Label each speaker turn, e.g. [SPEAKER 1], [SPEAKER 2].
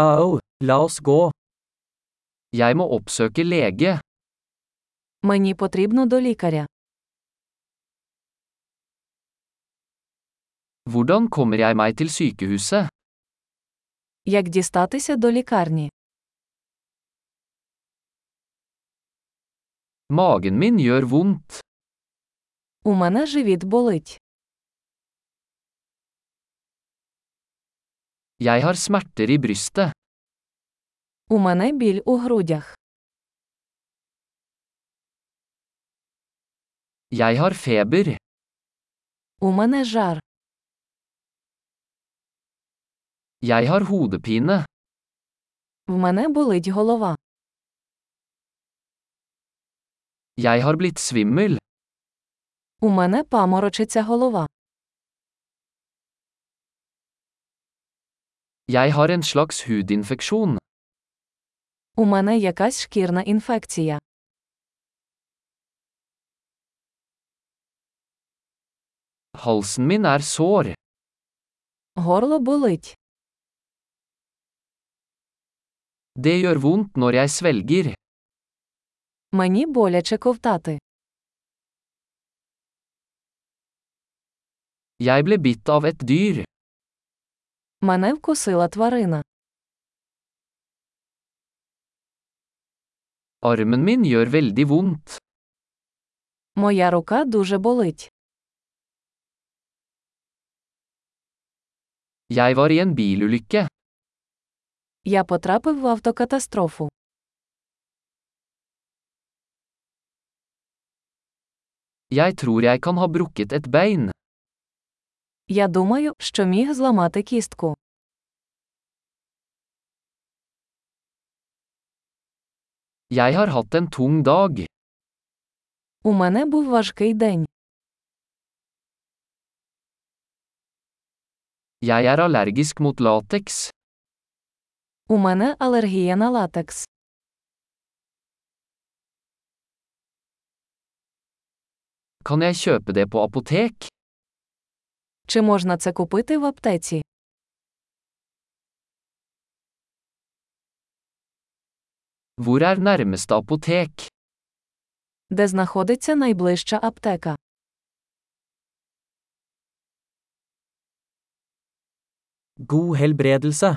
[SPEAKER 1] Au, la oss gå. Jeg må oppsøke lege.
[SPEAKER 2] Мені потрібно до лікаря.
[SPEAKER 1] Hvordan kommer jeg meg til sykehuset?
[SPEAKER 2] Як дістатися до лікарні?
[SPEAKER 1] Magen min gjør vondt.
[SPEAKER 2] У мене живіт болить.
[SPEAKER 1] Jeg har smerter i brystet.
[SPEAKER 2] У мене біль у грудях.
[SPEAKER 1] Jeg har feber.
[SPEAKER 2] У мене жар.
[SPEAKER 1] Jeg har hodepine.
[SPEAKER 2] В мене болить голова.
[SPEAKER 1] Jeg har blitt svimmel.
[SPEAKER 2] У мене паморочиться голова.
[SPEAKER 1] Jeg har en slags hudinfeksjon.
[SPEAKER 2] У мене якась шкірна інфекція.
[SPEAKER 1] Halsen min er sår.
[SPEAKER 2] Горло болить.
[SPEAKER 1] Det gjør vondt når jeg svelger.
[SPEAKER 2] Мені боляче ковтати.
[SPEAKER 1] Jeg ble bitt av et dyr.
[SPEAKER 2] Мене вкусила тварина.
[SPEAKER 1] Armen min gjør veldig vondt.
[SPEAKER 2] Моя рука дуже болить.
[SPEAKER 1] Jeg var i en bilulykke.
[SPEAKER 2] Я потрапив в автокатастрофу.
[SPEAKER 1] Jeg tror jeg kan ha brukket et bein.
[SPEAKER 2] Я думаю, що міг зламати кістку.
[SPEAKER 1] Jeg har hatt en tung dag.
[SPEAKER 2] У мене був важкий день.
[SPEAKER 1] Jeg er allergisk mot lateks.
[SPEAKER 2] У мене алергія на латекс.
[SPEAKER 1] Kan jeg kjøpe det på apotek?
[SPEAKER 2] Чи можна це купити в аптеці?
[SPEAKER 1] Hvor er nærmeste apotek?
[SPEAKER 2] Де знаходиться найближча аптека?
[SPEAKER 1] God helbredelse.